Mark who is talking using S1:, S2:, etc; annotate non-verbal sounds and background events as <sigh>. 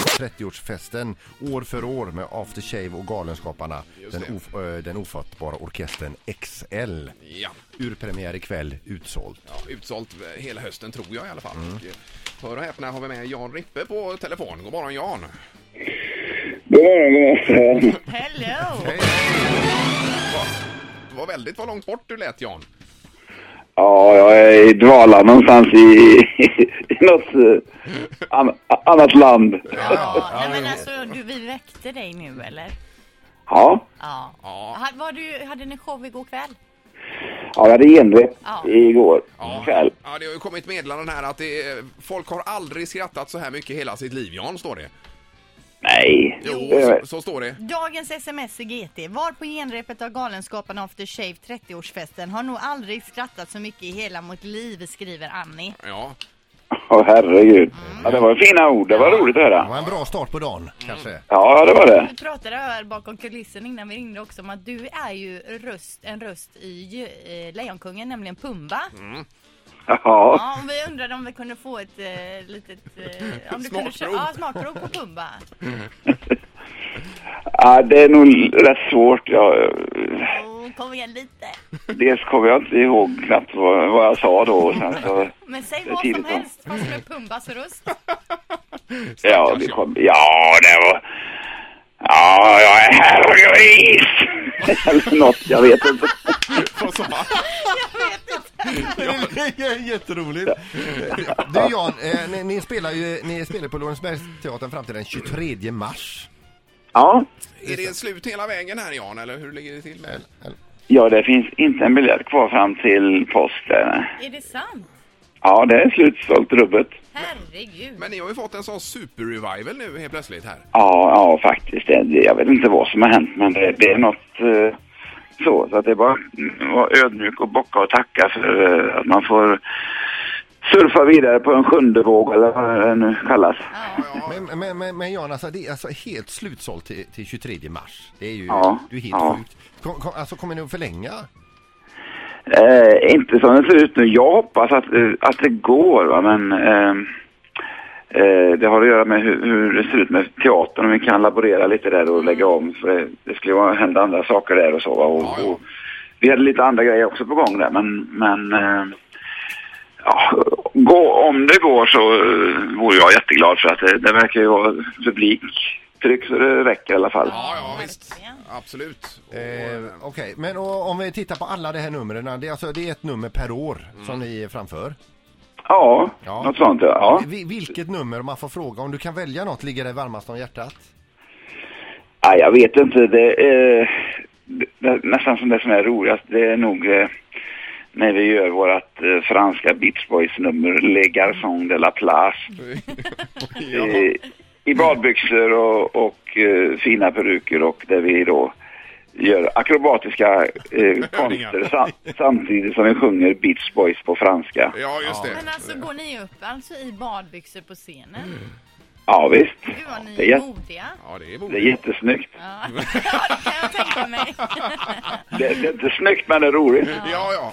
S1: 30-årsfesten år för år med After Shave och Galenskaparna. Den, of, eh, den ofattbara orkestern XL.
S2: Ja.
S1: Urpremiär ikväll, utsålt.
S2: Ja, utsålt eh, hela hösten tror jag i alla fall. Och, eh, Hör och häpna har vi med Jan Rippe på telefon. God morgon Jan!
S3: God morgon, god morgon.
S4: Hello!
S2: Det var väldigt vad långt bort du lät Jan.
S3: Ja, jag är i dvala någonstans i, i något eh, an, annat land.
S4: Ja, nej, men alltså, du, vi väckte dig nu eller?
S3: Ja,
S4: Ja.
S2: Ja.
S4: Ha- Var du, hade ni show igår kväll?
S3: ja jag hade envett
S4: Ja.
S3: igår
S2: Ja.
S3: kväll.
S2: Ja, det har ju kommit meddelanden här att det, är- folk har aldrig skrattat så här mycket i hela sitt liv Jan, står det.
S3: Nej.
S2: Jo,
S3: Det-
S2: så, så står det.
S4: Dagens sms i GT. Var på genrepet av Galenskaparna After Shave 30-årsfesten har nog aldrig skrattat så mycket i hela mitt liv, skriver Annie.
S2: Ja, <laughs>
S3: Åh herregud. Ja, det var fina ord. Det var roligt att
S1: Det
S3: höra.
S1: var en bra start på dagen, kanske.
S3: Ja, det var det.
S4: Vi pratade här bakom kulissen innan vi ringde också om att du är ju röst, en röst i Jö- eh, Lejonkungen, nämligen Pumba.
S3: Ja,
S4: Ja, och vi undrade om vi kunde få ett eh, litet... Eh, om du
S2: Smakprov.
S4: kunde köra, ja, smakprov på <laughs> Pumba.
S3: ja det är nog rätt svårt. Jag,
S4: Oh, kom igen lite.
S3: dels kommer jag inte ihåg knappt vad, vad jag sa då. Och sen så,
S4: Men säg
S3: Det är
S4: vad som
S3: tidigt, va?
S4: helst fast med Pumbas röst.
S3: ja, det kom, ja, det var... Ja, jag är herregud! <laughs> Eller något, jag vet inte.
S2: vad sa han?
S1: Det är jätteroligt. Du Jan, eh, ni, ni spelar ju ni spelar på Lorensbergsteatern fram till den 23 mars.
S3: Ja,
S2: Är det slut hela vägen här Jan, eller hur ligger det till? Med?
S3: Ja, det finns inte en biljett kvar fram till påsk. där, nej.
S4: Är det sant?
S3: Ja, det är slutsålt rubbet.
S4: Herregud.
S2: Men ni har ju fått en sån super-revival nu helt plötsligt här.
S3: Ja, ja faktiskt. Det, det, jag vet inte vad som har hänt, men det, det är något eh, så. Så att det är bara att vara ödmjuk och bocka och tacka för eh, att man får surfa vidare på en sjunde våg eller vad det nu kallas.
S4: Ja.
S1: Men, men, men, men Jan, alltså, det är alltså helt slutsålt till, till 23 mars. Det är ju
S3: Ja,
S1: du är helt
S3: ja.
S1: sjukt. Kom, kom, alltså, kommer ni att förlänga?
S3: Eh, inte som det ser ut nu. Jag hoppas att, eh, att det går, va? men eh, eh, det har att göra med hur, hur det ser ut med teatern. Om vi kan laborera lite där och lägga om. För det, det skulle ju hända andra saker där och så. Va? Och,
S2: Ja, ja.
S3: och, vi hade lite andra grejer också på gång där, men, men eh, ja, gå, om det går så eh, vore jag jätteglad för att det, det verkar ju vara publiktryck så det räcker i alla fall.
S2: Ja, ja
S4: verkligen.
S2: visst. Absolut. Och,
S1: Eh, Okej, men och, om vi tittar på alla de här numren. Det är, alltså, det är ett nummer per år som ni framför.
S3: Ja,
S1: Ja.
S3: något sånt ja. ja.
S1: Vi, vilket nummer, om man får fråga, om du kan välja något, ligger dig varmast om hjärtat?
S3: Ja, jag vet inte. Det, eh, det, det, nästan som det som är roligast, det är nog eh, när vi gör vårt eh, franska Beach Boys-nummer Le Garçon de la Place. I, I badbyxor och, och eh, fina peruker och där vi då gör akrobatiska eh, konster sam, samtidigt som vi sjunger Beach Boys på franska.
S2: ja, just det.
S4: Men alltså går ni upp alltså i badbyxor på scenen?
S3: Ja, visst.
S4: Gud vad
S3: Mm. Det är
S4: ni är
S3: jätte-
S4: modiga.
S2: Ja, det är
S3: Det är
S2: modigt.
S3: jättesnyggt.
S4: Ja, <laughs> Ja, det kan jag tänka mig.
S3: Det, det är inte snyggt, men det är roligt.
S2: Ja, ja.